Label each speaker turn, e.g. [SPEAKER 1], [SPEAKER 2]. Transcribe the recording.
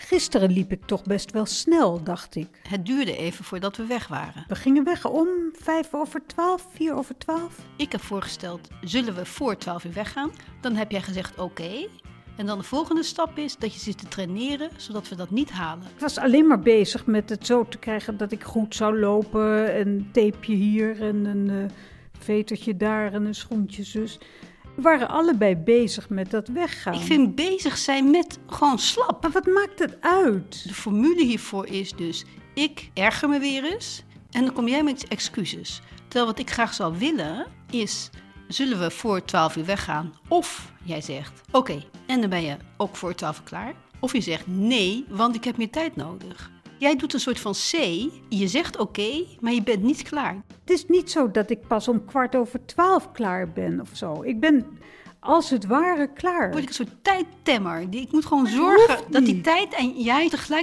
[SPEAKER 1] Gisteren liep ik toch best wel snel, dacht ik.
[SPEAKER 2] Het duurde even voordat we weg waren.
[SPEAKER 1] We gingen weg om vijf over twaalf, vier over twaalf.
[SPEAKER 2] Ik heb voorgesteld, zullen we voor 12 uur weggaan? Dan heb jij gezegd oké. En dan de volgende stap is dat je zit te traineren, zodat we dat niet halen.
[SPEAKER 1] Ik was alleen maar bezig met het zo te krijgen dat ik goed zou lopen. Een tapeje hier en een eh, vetertje daar en een schoentje zus. We waren allebei bezig met dat weggaan.
[SPEAKER 2] Ik vind bezig zijn met gewoon slap.
[SPEAKER 1] Maar wat maakt het uit?
[SPEAKER 2] De formule hiervoor is dus, ik erger me weer eens en dan kom jij met excuses. Terwijl wat ik graag zou willen is, zullen we voor 12 uur weggaan? Of jij zegt, oké, en dan ben je ook voor 12 uur klaar. Of je zegt, nee, want ik heb meer tijd nodig. Jij doet een soort van C, je zegt oké, maar je bent niet klaar.
[SPEAKER 1] Het is niet zo dat ik pas om kwart over twaalf klaar ben of zo. Ik ben als het ware klaar.
[SPEAKER 2] word ik een soort tijdtemmer. Die- Ik moet gewoon zorgen
[SPEAKER 1] hoeft
[SPEAKER 2] dat die
[SPEAKER 1] niet.